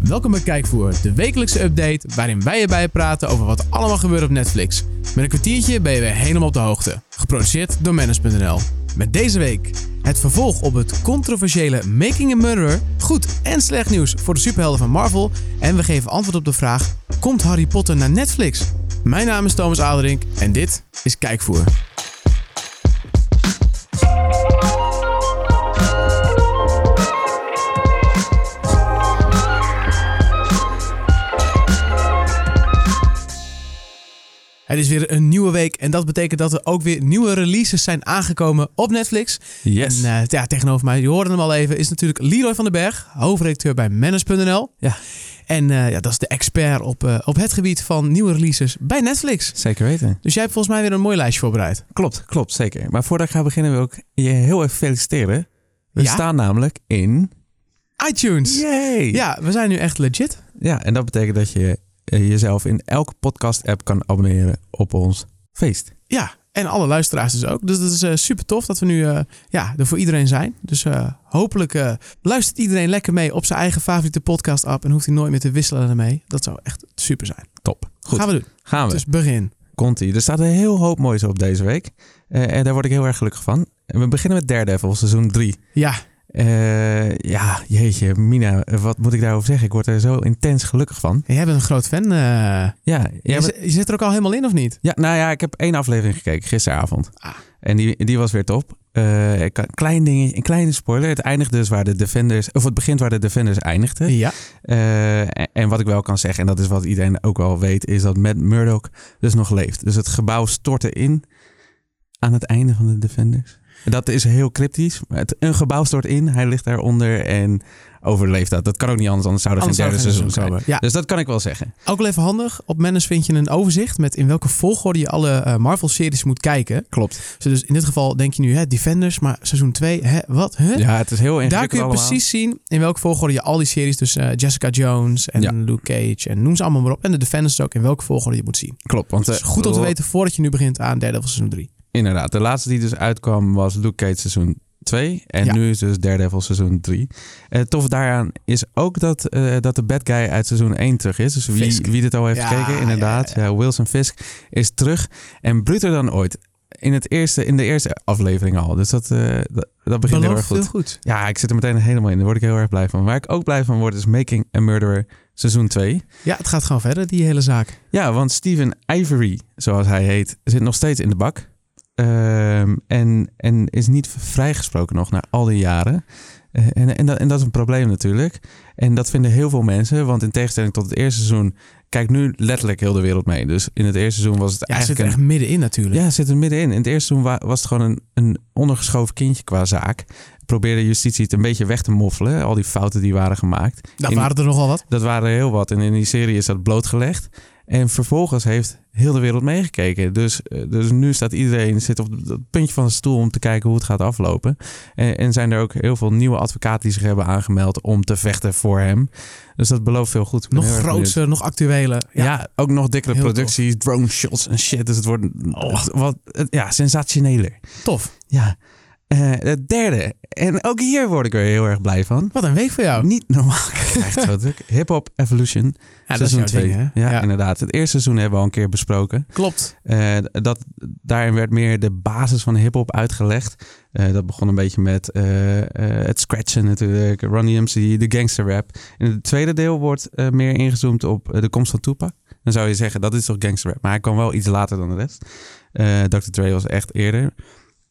Welkom bij Kijkvoer, de wekelijkse update waarin wij erbij praten over wat allemaal gebeurt op Netflix. Met een kwartiertje ben je weer helemaal op de hoogte. Geproduceerd door Manus.nl. Met deze week het vervolg op het controversiële Making a Murderer. Goed en slecht nieuws voor de superhelden van Marvel. En we geven antwoord op de vraag: komt Harry Potter naar Netflix? Mijn naam is Thomas Aderink en dit is Kijkvoer. Het is weer een nieuwe week en dat betekent dat er ook weer nieuwe releases zijn aangekomen op Netflix. Yes. En eh, ja, tegenover mij, je hoorde hem al even, is natuurlijk Leroy van den Berg, hoofdredacteur bij Manus.nl. Ja. En eh, ja, dat is de expert op, eh, op het gebied van nieuwe releases bij Netflix. Zeker weten. Dus jij hebt volgens mij weer een mooi lijstje voorbereid. Klopt, klopt, zeker. Maar voordat ik ga beginnen wil ik je heel even feliciteren. We Ja? staan namelijk in... iTunes. Yay! Ja. Ja, we zijn nu echt legit. ja, en dat betekent dat je eh, jezelf in elke podcast-app kan abonneren op ons feest. Ja, en alle luisteraars dus ook. Dus dat is super tof dat we nu eh, ja, er voor iedereen zijn. Dus eh, hopelijk eh, luistert iedereen lekker mee op zijn eigen favoriete podcast app. En hoeft hij nooit meer te wisselen ermee. Dat zou echt super zijn. Top. Goed, Gaan we doen. gaan we. Dus begin. Conti. Er staat een heel hoop moois op deze week. Eh, en daar word ik heel erg gelukkig van. En We beginnen met Daredevil, seizoen 3. Ja, Eh, ja, jeetje, Mina, wat moet ik daarover zeggen? Ik word er zo intens gelukkig van. jij bent een groot fan. eh. Ja, je, jij zi- je zit er ook al helemaal in of niet? Ja, nou ja, ik heb één aflevering gekeken gisteravond. Ah. En die, die was weer top. Eh, ik- een klein ding, een kleine spoiler. Het eindigt dus waar de Defenders, of het begint waar de Defenders eindigden. Ja. Eh, en, en wat ik wel kan zeggen, en dat is wat iedereen ook wel weet, is dat Matt Murdock dus nog leeft. Dus het gebouw stortte in aan het einde van de Defenders. En Dat is heel cryptisch. maar Het, een gebouw stort in, hij ligt daaronder en overleeft dat. Dat kan ook niet anders, anders zou er Anders geen derde zou er geen seizoen seizoen komen. komen. Ja. Dus dat kan ik wel zeggen. Ook wel even handig. Op Manus vind je een overzicht met in welke volgorde je alle eh, Marvel-series moet kijken. Klopt. Dus dus in dit geval denk je nu, hè, Defenders, maar seizoen 2, hè, wat? Hè? Ja, het is heel ingewikkeld Daar kun je allemaal. precies zien in welke volgorde je al die series, dus eh, Jessica Jones en Ja. Luke Cage en noem ze allemaal maar op. En de Defenders ook, in welke volgorde je moet zien. Klopt, want Het is goed om te weten voordat je nu begint aan Daredevil seizoen 3. Inderdaad, de laatste die dus uitkwam was Luke Cage seizoen 2. En Ja. nu is dus Daredevil seizoen 3. Eh tof daaraan is ook dat, eh, dat de bad guy uit seizoen 1 terug is. Dus wie, Fisk. wie dit al heeft Ja, gekeken, inderdaad. Ja, Wilson Fisk is terug en bruter dan ooit. In, het eerste, in de eerste aflevering al. Dus dat, eh, dat, dat begint heel Belooft erg heel goed. goed. Ja, ik zit er meteen helemaal in. Daar word ik heel erg blij van. Waar ik ook blij van word is Making a Murderer seizoen 2. Ja, het gaat gewoon verder, die hele zaak. Ja, want Steven Ivory, zoals hij heet, zit nog steeds in de bak. Ehm, en, en is niet vrijgesproken nog na al die jaren. Eh, en, en, dat, en dat is een probleem natuurlijk. En dat vinden heel veel mensen, want in tegenstelling tot het eerste seizoen, kijkt nu letterlijk heel de wereld mee. Dus in het eerste seizoen was het Ja, het zit eigenlijk er een echt middenin natuurlijk. ja, zit er middenin. In het eerste seizoen wa- was het gewoon een, een ondergeschoven kindje qua zaak. Probeerde justitie het een beetje weg te moffelen, al die fouten die waren gemaakt. Daar In- waren er nogal wat. dat waren er heel wat. En in die serie is dat blootgelegd. En vervolgens heeft heel de wereld meegekeken. Dus, eh, dus nu staat iedereen zit op het puntje van de stoel om te kijken hoe het gaat aflopen. En, en zijn er ook heel veel nieuwe advocaten die zich hebben aangemeld om te vechten voor hem. Dus dat belooft veel goed. Ik ben Nog heel erg benieuwd. grootser, nog actueler. Ja, ook nog dikkere Heel Oh. producties, drone shots en shit. Dus het wordt het- wat, het- ja, sensationeler. tof. Ja. Eh, het derde. En ook hier word ik er heel erg blij van. Wat een week voor jou. Niet normaal. Echt zo druk. Hip-hop Evolution. Ja, dat is seizoen jouw ding, 2. hè? Ja, inderdaad. Het eerste seizoen hebben we al een keer besproken. klopt. Eh, dat, daarin werd meer de basis van hip-hop uitgelegd. Eh, dat begon een beetje met eh, eh, het scratchen natuurlijk. Ronnie MC, de gangster rap. In het tweede deel wordt eh, meer ingezoomd op eh, de komst van Tupac. Dan zou je zeggen, dat is toch gangster rap. Maar hij kwam wel iets later dan de rest. Eh, Dr. Dre was echt eerder.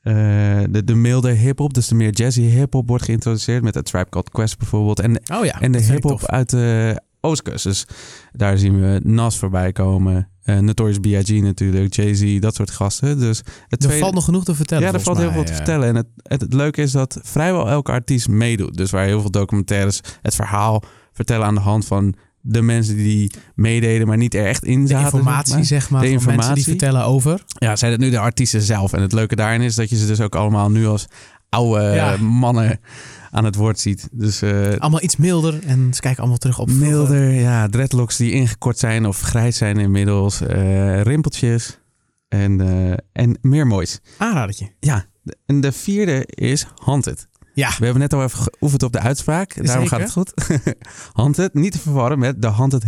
Eh, de, de milde hip-hop, dus de meer jazzy hip-hop, wordt geïntroduceerd met A Tribe Called Quest bijvoorbeeld. En Oh ja. en de dat vind ik hip-hop tof. uit de Oostkust. Dus daar zien we Nas voorbij komen. eh, Notorious B.I.G. natuurlijk, Jay-Z, dat soort gasten. Dus het Er valt nog genoeg te vertellen. ja, er volgens valt heel mij, veel te eh. vertellen. En het, het, het leuke is dat vrijwel elke artiest meedoet. Dus waar heel veel documentaires het verhaal vertellen aan de hand van de mensen die meededen, maar niet er echt in De zaten. zeg informatie, maar. zeg maar, De van mensen die informatie. vertellen over. Ja, zijn het nu de artiesten zelf. En het leuke daarin is dat je ze dus ook allemaal nu als oude Ja. mannen aan het woord ziet. Dus eh, Allemaal iets milder en ze kijken allemaal terug op vroeger. Milder, ja. Dreadlocks die ingekort zijn of grijs zijn inmiddels. eh, rimpeltjes. En, eh, en meer moois. Aanradertje. Ja. de- En de vierde is Haunted. Ja. We hebben net al even geoefend op de uitspraak. Daarom gaat het goed. Haunted, niet te verwarren met de Haunted...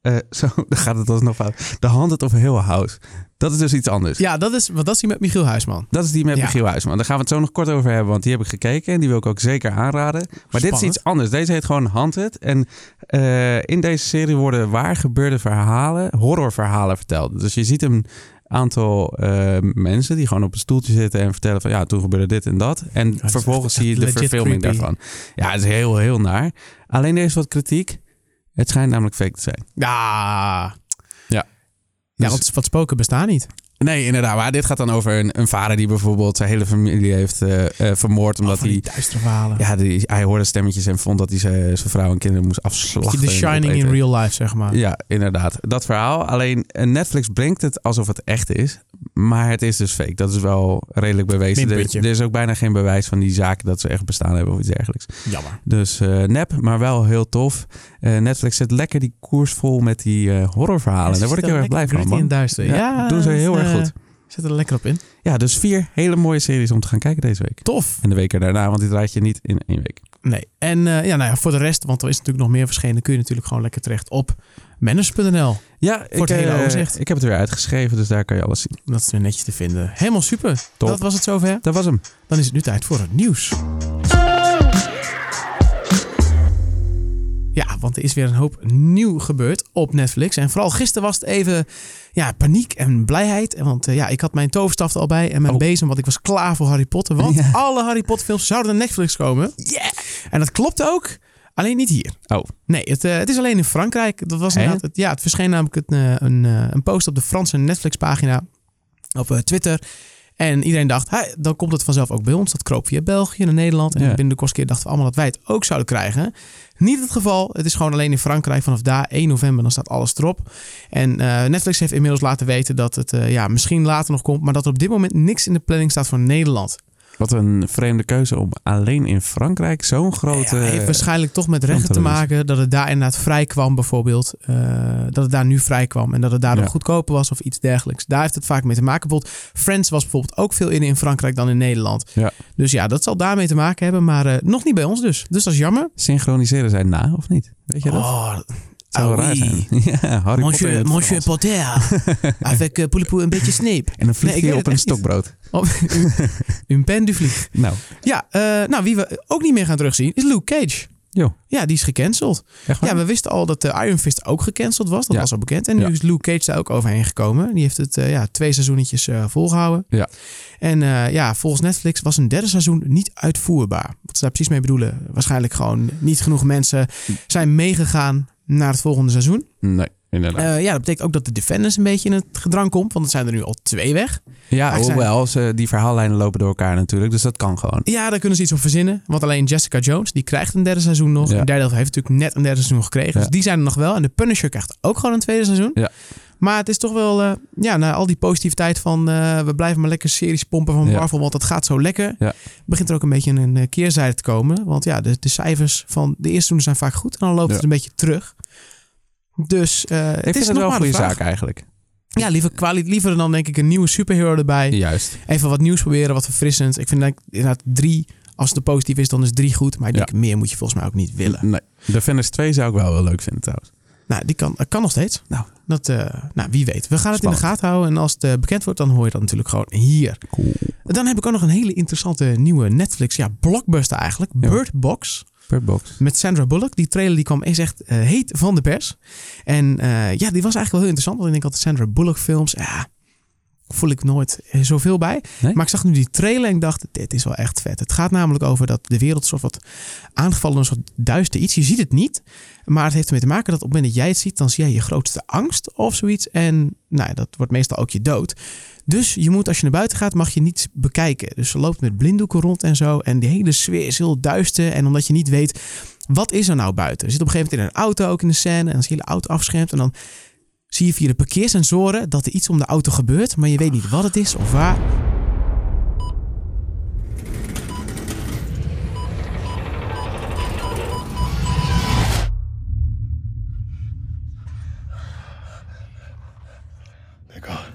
eh zo, dan gaat het alsnog fout. De Haunted of Hill House. Dat is dus iets anders. Ja, dat is, want dat is die met Michiel Huisman. Dat is die met Ja. Michiel Huisman. Daar gaan we het zo nog kort over hebben, want die heb ik gekeken en die wil ik ook zeker aanraden. Maar dit is Spannend. iets anders. Deze heet gewoon Haunted. En eh, in deze serie worden waar gebeurde verhalen, horrorverhalen verteld. Dus je ziet een aantal eh, mensen die gewoon op een stoeltje zitten en vertellen van ja, toen gebeurde dit en dat. En is vervolgens echt- zie je echt de legit verfilming creepy. daarvan. Ja, het is heel, heel naar. Alleen er is wat kritiek. Het schijnt namelijk fake te zijn. Ja. Ja. Ja, Dus- want wat spoken bestaan niet. Nee, inderdaad. Maar dit gaat dan over een, een vader die bijvoorbeeld zijn hele familie heeft eh, eh, vermoord. Omdat Van hij die duistere verhalen. Ja, die, hij hoorde stemmetjes en vond dat hij zijn, zijn vrouw en kinderen moest afslachten. The en Shining in opeten. real life, zeg maar. Ja, inderdaad. Dat verhaal. Alleen eh, Netflix brengt het alsof het echt is. Maar het is dus fake. Dat is wel redelijk bewezen. Er, Minpuntje. er is ook bijna geen bewijs van die zaken dat ze echt bestaan hebben of iets dergelijks. Jammer. Dus eh, nep, maar wel heel tof. Eh, Netflix zet lekker die koers vol met die eh, horrorverhalen. Daar word ik heel erg blij van, man. duister. Ja, Ja, doen ze dat, heel erg eh, goed. Zit er lekker op in. Ja, dus vier hele mooie series om te gaan kijken deze week. Tof. En de week erna, want die draait je niet in één week. Nee. En eh, ja, nou ja, voor de rest, want er is natuurlijk nog meer verschenen, kun je natuurlijk gewoon lekker terecht op manners.nl. Ja, ik, het hele eh, overzicht. ik heb het weer uitgeschreven, dus daar kan je alles zien. Dat is weer netjes te vinden. Helemaal super. Top. Dat was het zover. Dat was hem. Dan is het nu tijd voor het nieuws. Ja, want er is weer een hoop nieuw gebeurd op Netflix. En vooral gisteren was het even ja, paniek en blijheid. En Want eh, ja, ik had mijn toverstaf er al bij en mijn Oh. bezem, want ik was klaar voor Harry Potter. Want Ja. alle Harry Potter films zouden naar Netflix komen. En dat klopt ook, alleen niet hier. Oh. Nee, het, eh, het is alleen in Frankrijk. Dat was Hè? inderdaad het, ja, het verscheen namelijk het, eh, een, eh, een post op de Franse Netflix-pagina op eh, Twitter. En iedereen dacht, "Hé, dan komt het vanzelf ook bij ons. Dat kroop via België naar Nederland. En Ja. binnen de kortste keer dachten we allemaal dat wij het ook zouden krijgen. Niet het geval. Het is gewoon alleen in Frankrijk vanaf daar 1 november. Dan staat alles erop. En eh, Netflix heeft inmiddels laten weten dat het eh, ja, misschien later nog komt. Maar dat er op dit moment niks in de planning staat voor Nederland. Wat een vreemde keuze om alleen in Frankrijk zo'n grote... Ja, heeft waarschijnlijk toch met rechten te kanteloos. maken dat het daar inderdaad vrij kwam, bijvoorbeeld. Eh, dat het daar nu vrij kwam en dat het daardoor Ja. goedkoper was of iets dergelijks. Daar heeft het vaak mee te maken. Bijvoorbeeld, Friends was bijvoorbeeld ook veel in in Frankrijk dan in Nederland. Ja. Dus ja, dat zal daarmee te maken hebben, maar eh, nog niet bij ons dus. Dus dat is jammer. Oh, Synchroniseren zij na, of niet? Weet je dat? Oh, zou wel ah, raar oui. zijn. Ja, Harry Potter in het Frans. Potter. Avec uh, een beetje sneep. En dan vliegt Nee, ik hij weet het op een echt niet. stokbrood. Een pen du vlieg. Nou, Ja, eh, nou wie we ook niet meer gaan terugzien is Luke Cage. Jo. Ja, die is gecanceld. echt waar? Ja, we wisten al dat de Iron Fist ook gecanceld was. Dat Ja. was al bekend. En nu Ja. is Luke Cage daar ook overheen gekomen. Die heeft het eh, ja, twee seizoenetjes eh, volgehouden. Ja. En eh, ja, volgens Netflix was een derde seizoen niet uitvoerbaar. Wat ze daar precies mee bedoelen. Waarschijnlijk gewoon niet genoeg mensen zijn meegegaan naar het volgende seizoen. Nee, inderdaad. Eh, ja, dat betekent ook dat de Defenders een beetje in het gedrang komt. Want het zijn er nu al twee weg. ja, eigenlijk zijn- hoewel, ze, die verhaallijnen lopen door elkaar natuurlijk, dus dat kan gewoon. Ja, daar kunnen ze iets op verzinnen. Want alleen Jessica Jones, die krijgt een derde seizoen nog. Ja. En Daredevil heeft natuurlijk net een derde seizoen gekregen. Ja. Dus die zijn er nog wel. En de Punisher krijgt ook gewoon een tweede seizoen. Ja. Maar het is toch wel, eh, ja, na al die positiviteit van... eh, we blijven maar lekker series pompen van Ja. Marvel, want dat gaat zo lekker. Ja. Begint er ook een beetje een eh, keerzijde te komen. Want ja, de, de cijfers van de eerste seizoenen zijn vaak goed. En dan loopt Ja. het een beetje terug. Dus eh, ik het vind is het nog wel een maar de goede vraag. zaak eigenlijk. Ja, liever, kwali- liever dan denk ik een nieuwe superhero erbij. Juist. Even wat nieuws proberen, wat verfrissend. Ik vind dat ik inderdaad drie, als het positief is, dan is drie goed. Maar ik Ja. denk, meer moet je volgens mij ook niet willen. Nee. Defenders 2 zou ik wel wel leuk vinden trouwens. Nou, die kan, dat kan nog steeds. Nou. Dat, eh, nou, wie weet. We gaan het Spannend. in de gaten houden. En als het eh, bekend wordt, dan hoor je dat natuurlijk gewoon hier. Cool. Dan heb ik ook nog een hele interessante nieuwe Netflix. Ja, blockbuster eigenlijk. Ja. Bird Box. Per box. Met Sandra Bullock. Die trailer die kwam is echt eh, heet van de pers. En eh, ja, die was eigenlijk wel heel interessant. Want ik denk altijd Sandra Bullock films. Ja, voel ik nooit eh, zoveel bij. Nee? Maar ik zag nu die trailer en ik dacht, dit is wel echt vet. Het gaat namelijk over dat de wereld soort wat aangevallen door een soort duister iets. Je ziet het niet, maar het heeft ermee te maken dat op het moment dat jij het ziet, dan zie jij je grootste angst of zoiets. En nou, ja, dat wordt meestal ook je dood. Dus je moet, als je naar buiten gaat, mag je niets bekijken. Dus ze loopt met blinddoeken rond en zo. En die hele sfeer is heel duister. En omdat je niet weet, wat is er nou buiten? Je zit op een gegeven moment in een auto ook in de scène. En dan zie je de auto afschermt. En dan zie je via de parkeersensoren dat er iets om de auto gebeurt. Maar je weet niet wat het is of waar. They're gone.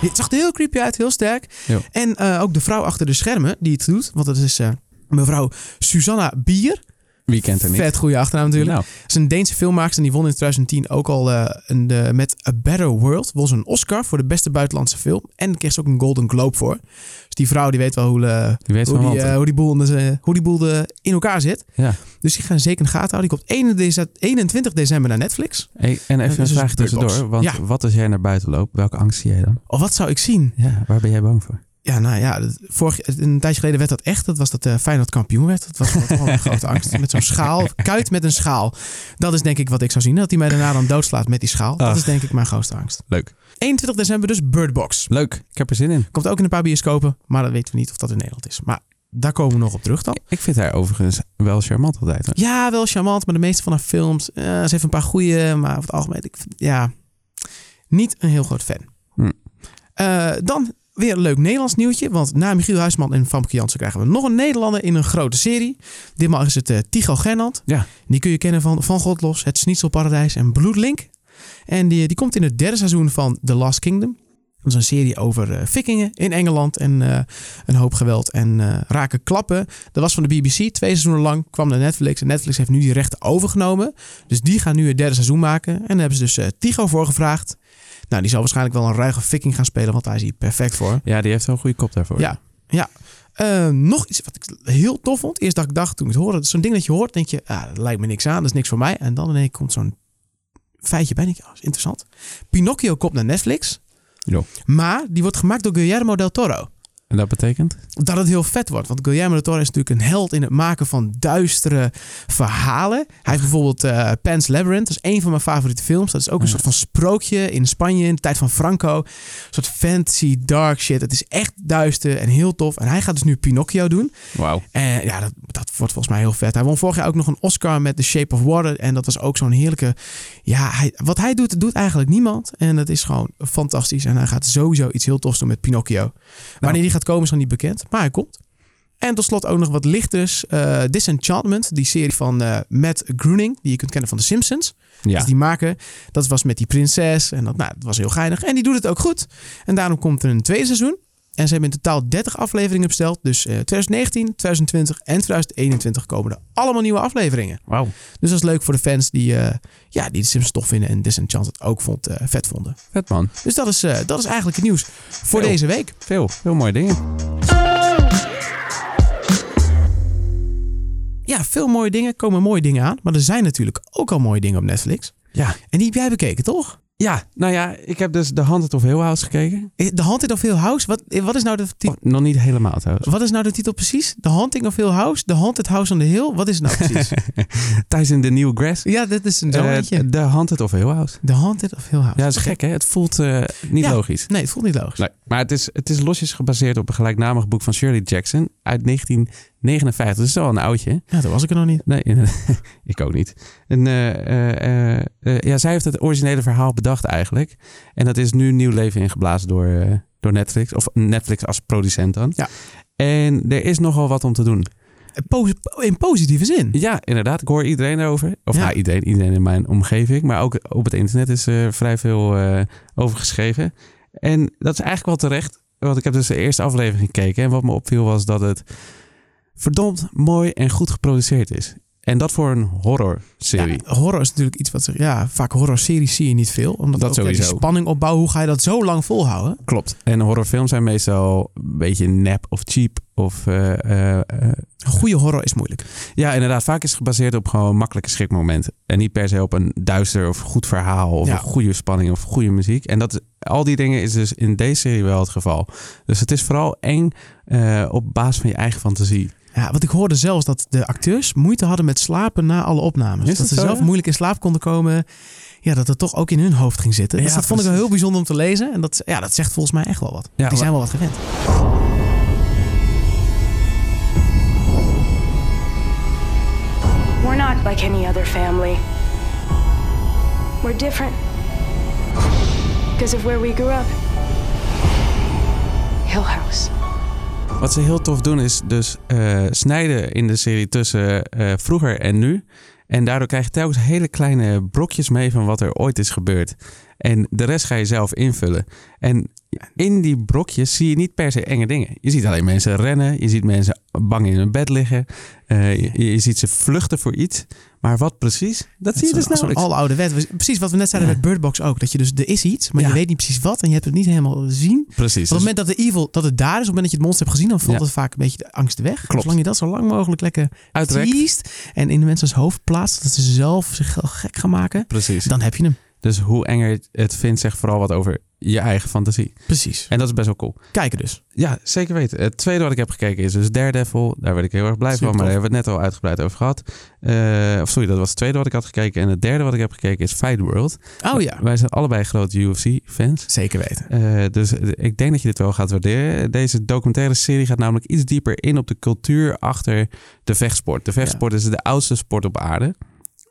Het zag er heel creepy uit, heel sterk. Ja. En eh, ook de vrouw achter de schermen die het doet. Want dat is eh, Mevrouw Susanna Bier. Wie kent er niet? Vet goede achternaam natuurlijk. Nou, is een Deense filmmaakster en die won in 2010 ook al eh, een, eh, met A Better World. Won ze een Oscar voor de beste buitenlandse film. En kreeg ze ook een Golden Globe voor. Dus die vrouw die weet wel hoe, eh, die weet hoe, van die, wat. eh, hoe die boel, in de- hoe die boel eh, in elkaar zit. Ja. Dus die gaan zeker in de gaten houden. Die komt 1 dece- 21 december naar Netflix. Hey, en dat even een is vraag Bird Box. tussendoor. Want Ja. wat als jij naar buiten loopt? Welke angst zie jij dan? Of wat zou ik zien? Ja, waar ben jij bang voor? Ja, nou ja, dat- vorig, een tijdje geleden werd dat echt. Dat was dat eh Feyenoord kampioen werd. Dat was wel toch wel een grote angst. Met zo'n schaal. Kuit met een schaal. Dat is denk ik wat ik zou zien. Dat hij mij daarna dan doodslaat met die schaal. Dat Ach. is denk ik mijn grootste angst. Leuk. 21 december dus Bird Box. Leuk, ik heb er zin in. Komt ook in een paar bioscopen, maar dat weten we niet of dat in Nederland is. Maar daar komen we nog op terug dan. Ik vind haar overigens wel charmant altijd. hoor. Ja, wel charmant, maar de meeste van haar films. eh, ze heeft een paar goede, maar over het algemeen, ik, vind- ja, niet een heel groot fan. Hm. Eh, dan weer een leuk Nederlands nieuwtje. Want na Michiel Huisman en Famke Jansen krijgen we nog een Nederlander in een grote serie. Ditmaal is het eh Tycho Gernand. Ja. Die kun je kennen van Van God Los, Het Schnitzelparadijs en Bloedlink. En die, die komt in het derde seizoen van The Last Kingdom. Dat is een serie over eh, vikingen in Engeland en eh, een hoop geweld en eh raken klappen. Dat was van de BBC, twee seizoenen lang, kwam naar Netflix. En Netflix heeft nu die rechten overgenomen. Dus die gaan nu het derde seizoen maken. En daar hebben ze dus eh, Tycho voor gevraagd. Nou, die zal waarschijnlijk wel een ruige viking gaan spelen, want daar is hij perfect voor. Ja, die heeft wel een goede kop daarvoor. Ja. Eh, nog iets wat ik heel tof vond. Eerst dat ik dacht toen ik het hoorde. Zo'n ding dat je hoort, denk je, ah, dat lijkt me niks aan, dat is niks voor mij. En dan ineens komt zo'n feitje bij. Denk je, oh, dat is interessant. Pinocchio komt naar Netflix. Ja. Maar die wordt gemaakt door Guillermo del Toro. En dat betekent? Dat het heel vet wordt. Want Guillermo del Toro is natuurlijk een held in het maken van duistere verhalen. Hij heeft bijvoorbeeld eh Pan's Labyrinth. Dat is een van mijn favoriete films. Dat is ook een Ja. soort van sprookje in Spanje in de tijd van Franco. Een soort fantasy, dark shit. Het is echt duister en heel tof. En hij gaat dus nu Pinocchio doen. Wauw. En ja, dat, dat wordt volgens mij heel vet. Hij won vorig jaar ook nog een Oscar met The Shape of Water. En dat was ook zo'n heerlijke... Ja, hij, wat hij doet, doet eigenlijk niemand. En dat is gewoon fantastisch. En hij gaat sowieso iets heel tofs doen met Pinocchio. Wanneer die gaat komen is nog niet bekend. Maar hij komt. En tot slot ook nog wat lichters. Eh, Disenchantment, die serie van eh, Matt Groening. Die je kunt kennen van The Simpsons. Ja. Dus die maken. Dat was met die prinses. En dat, nou, dat was heel geinig. En die doet het ook goed. En daarom komt er een tweede seizoen. En ze hebben in totaal 30 afleveringen besteld. Dus eh, 2019, 2020 en 2021 komen er allemaal nieuwe afleveringen. Wauw. Dus dat is leuk voor de fans die, eh, ja, die de Sims tof vinden en Disenchanted ook vond, eh, vet vonden. Vet man. Dus dat is, eh, dat is eigenlijk het nieuws voor Veel. deze week. Veel, veel mooie dingen. Ja, veel mooie dingen komen mooie dingen aan. Maar er zijn natuurlijk ook al mooie dingen op Netflix. Ja. En die heb jij bekeken, toch? Ja, nou ja, ik heb dus The Haunted of Hill House gekeken. Eh, De Haunted of Hill House, wat, wat is nou de titel? Oh, nog niet helemaal trouwens. Wat is nou de titel precies? The Haunting of Hill House? The Haunted House on the Hill? Wat is het nou precies? Thijs in The New Grass. ja, dit is een Eh, zoontje. the Haunted of Hill House. The Haunted of Hill House. Ja, dat is gek hè? Het voelt eh, niet Ja. logisch. Nee, het voelt niet logisch. Nee, maar het is, het is losjes gebaseerd op een gelijknamig boek van Shirley Jackson uit 1959. Dat is wel een oudje. hè? Ja, dat was ik er nog niet. Nee, inderdaad. ik ook niet. En, eh, eh, eh, eh, ja, zij heeft het originele verhaal bedacht eigenlijk. En dat is nu nieuw leven ingeblazen door, eh, door Netflix. Of Netflix als producent dan. Ja. En er is nogal wat om te doen. Po- in positieve zin. Ja, inderdaad. Ik hoor iedereen erover. Of Ja. nou, iedereen, iedereen in mijn omgeving. Maar ook op het internet is er vrij veel eh, over geschreven. En dat is eigenlijk wel terecht. Want ik heb dus de eerste aflevering gekeken. En wat me opviel was dat het verdomd mooi en goed geproduceerd is. En dat voor een horror serie. Ja, horror is natuurlijk iets wat... ze- Ja, vaak horrorseries zie je niet veel. Omdat Dat ook, ja, sowieso. die spanning opbouwen, hoe ga je dat zo lang volhouden? Klopt. En horrorfilms zijn meestal een beetje nep of cheap. Of, eh, eh, eh, Een goede horror is moeilijk. ja, inderdaad. Vaak is het gebaseerd op gewoon makkelijke schrikmomenten. En niet per se op een duister of goed verhaal. Of Ja. een goede spanning of goede muziek. En dat, is- al die dingen is dus in deze serie wel het geval. Dus het is vooral eng eh, op basis van je eigen fantasie. Ja, want ik hoorde zelfs dat de acteurs moeite hadden met slapen na alle opnames. Is dat dat ze zo, zelf ja? moeilijk in slaap konden komen. Ja, dat het toch ook in hun hoofd ging zitten. Ja, dus dat vond ik wel precies. heel bijzonder om te lezen. En dat, ja, dat zegt volgens mij echt wel wat. Ja, Die zijn wel wat gewend. We're not like any other family. We're different. Because of where we grew up. Hill House. Wat ze heel tof doen is dus eh, snijden in de serie tussen eh, vroeger en nu. En daardoor krijg je telkens hele kleine brokjes mee van wat er ooit is gebeurd. En de rest ga je zelf invullen. En in die brokjes zie je niet per se enge dingen. Je ziet alleen mensen rennen. Je ziet mensen bang in hun bed liggen. eh, je, je ziet ze vluchten voor iets. Maar wat precies? Dat, zie je dus Zo'n nauwelijks. aloude wet. Precies wat we net zeiden Ja. met Bird Box ook. Dat je dus, er is iets, maar Ja. je weet niet precies wat. En je hebt het niet helemaal gezien. Precies. Op het Dus- moment dat de evil, dat het daar is, op het moment dat je het monster hebt gezien, dan valt Ja. het vaak een beetje de angst weg. Klopt. Zolang je dat zo lang mogelijk lekker Uitrekt. teest en in de mensen's hoofd plaatst, dat ze zelf zich wel gek gaan maken, Precies. dan heb je hem. Dus hoe enger het vindt, zegt vooral wat over je eigen fantasie. Precies. En dat is best wel cool. Kijken dus. Ja, zeker weten. Het tweede wat ik heb gekeken is dus Daredevil. Daar werd ik heel erg blij van, Supertof. maar daar hebben we het net al uitgebreid over gehad. Eh, of sorry, dat was het tweede wat ik had gekeken. En het derde wat ik heb gekeken is Fight World. Oh ja. Wij zijn allebei grote UFC-fans. Zeker weten. Eh, dus ik denk dat je dit wel gaat waarderen. Deze documentaire serie gaat namelijk iets dieper in op de cultuur achter de vechtsport. De vechtsport is de oudste sport op aarde.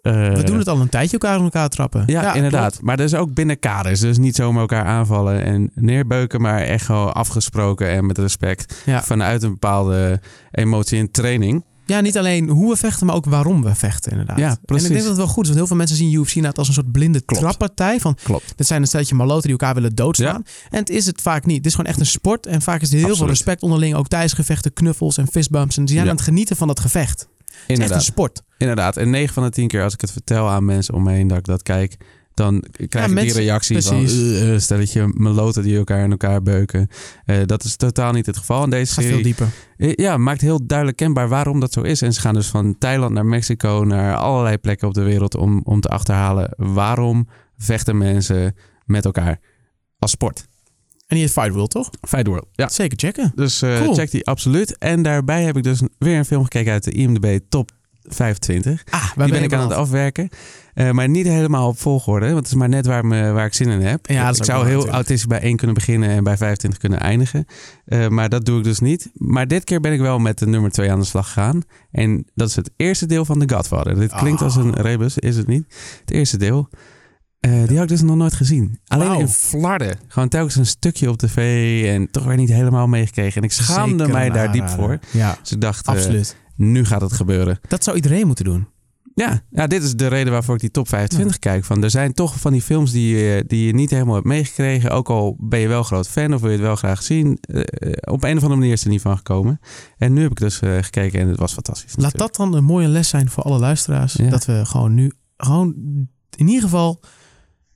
Eh, We doen het al een tijdje elkaar aan elkaar trappen. Ja, inderdaad. klopt. Maar dat is ook binnen kaders. Dus niet zomaar elkaar aanvallen en neerbeuken, maar echt gewoon afgesproken en met respect. Ja. Vanuit een bepaalde emotie en training. Ja, niet alleen hoe we vechten, maar ook waarom we vechten inderdaad. Ja, En precies. ik denk dat het wel goed is, want heel veel mensen zien UFC inderdaad als een soort blinde Klopt. trappartij. Van, Klopt. dit zijn een steltje maloten die elkaar willen doodslaan. En het is het vaak niet. Het is gewoon echt een sport. En vaak is er heel veel Absoluut. respect onderling. Ook tijdens gevechten, knuffels en fistbumps. En ze zijn Ja. aan het genieten van dat gevecht. Het is echt een Inderdaad. sport. inderdaad. En 9 van de 10 keer als ik het vertel aan mensen om me heen dat ik dat kijk, dan krijg ik mensen- die reactie precies. van "Eh, eh, stelletje meloten die elkaar in elkaar beuken. Eh, dat is totaal niet het geval. En deze Het gaat serie veel dieper. Eh, Ja, maakt heel duidelijk kenbaar waarom dat zo is. En ze gaan dus van Thailand naar Mexico, naar allerlei plekken op de wereld om, om te achterhalen waarom vechten mensen met elkaar als sport. En die is Fight World, toch? Fight World. Ja. Zeker checken. Dus eh, Cool. check die absoluut. En daarbij heb ik dus weer een film gekeken uit de IMDb Top 25. Ah, waar Die ben ik aan het afwerken. Eh, maar niet helemaal op volgorde, want het is maar net waar, me, waar ik zin in heb. Ja, dat is ik ook waar, zou heel natuurlijk. autistisch bij 1 kunnen beginnen en bij 25 kunnen eindigen. Eh, maar dat doe ik dus niet. Maar dit keer ben ik wel met de nummer 2 aan de slag gegaan. En dat is het eerste deel van The Godfather. Dit klinkt als Ah. een rebus, is het niet? Het eerste deel. Eh, die had ik dus nog nooit gezien. Alleen Wauw. in Flarden. Gewoon telkens een stukje op tv en toch weer niet helemaal meegekregen. En ik schaamde Zeker mij een daar diep aanrader. voor. Ja, Dus ik dacht, eh, absoluut. nu gaat het gebeuren. Dat zou iedereen moeten doen. Ja, ja, dit is de reden waarvoor ik die top 25 kijk. Van, er zijn toch van die films die, je- die je niet helemaal hebt meegekregen. Ook al ben je wel groot fan of wil je het wel graag zien. eh, eh, op een of andere manier is er niet van gekomen. En nu heb ik dus eh, gekeken en het was fantastisch. Laat dat dan een mooie les zijn voor alle luisteraars. Ja. Dat we gewoon nu, gewoon in ieder geval,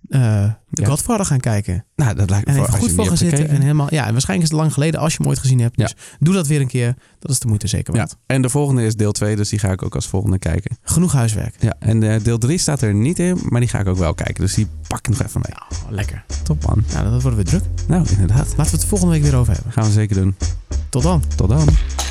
eh de Ja. Godfather gaan kijken. dat... Nou, dat lijkt me En voor even als je goed hem voor niet gaan zitten. hebt En gekeken. helemaal, ja, en waarschijnlijk is het lang geleden als je hem ooit gezien hebt. Ja. Dus doe dat weer een keer. Dat is de moeite zeker Ja, waard. en de volgende is deel 2, dus die ga ik ook als volgende kijken. Genoeg huiswerk. Ja, en eh, deel 3 staat er niet in, maar die ga ik ook wel kijken. Dus die pak ik nog even mee. Oh, lekker. Top man. Nou, dat wordt weer druk. Nou, inderdaad. Laten we het volgende week weer over hebben. Gaan we zeker doen. Tot dan. Tot dan.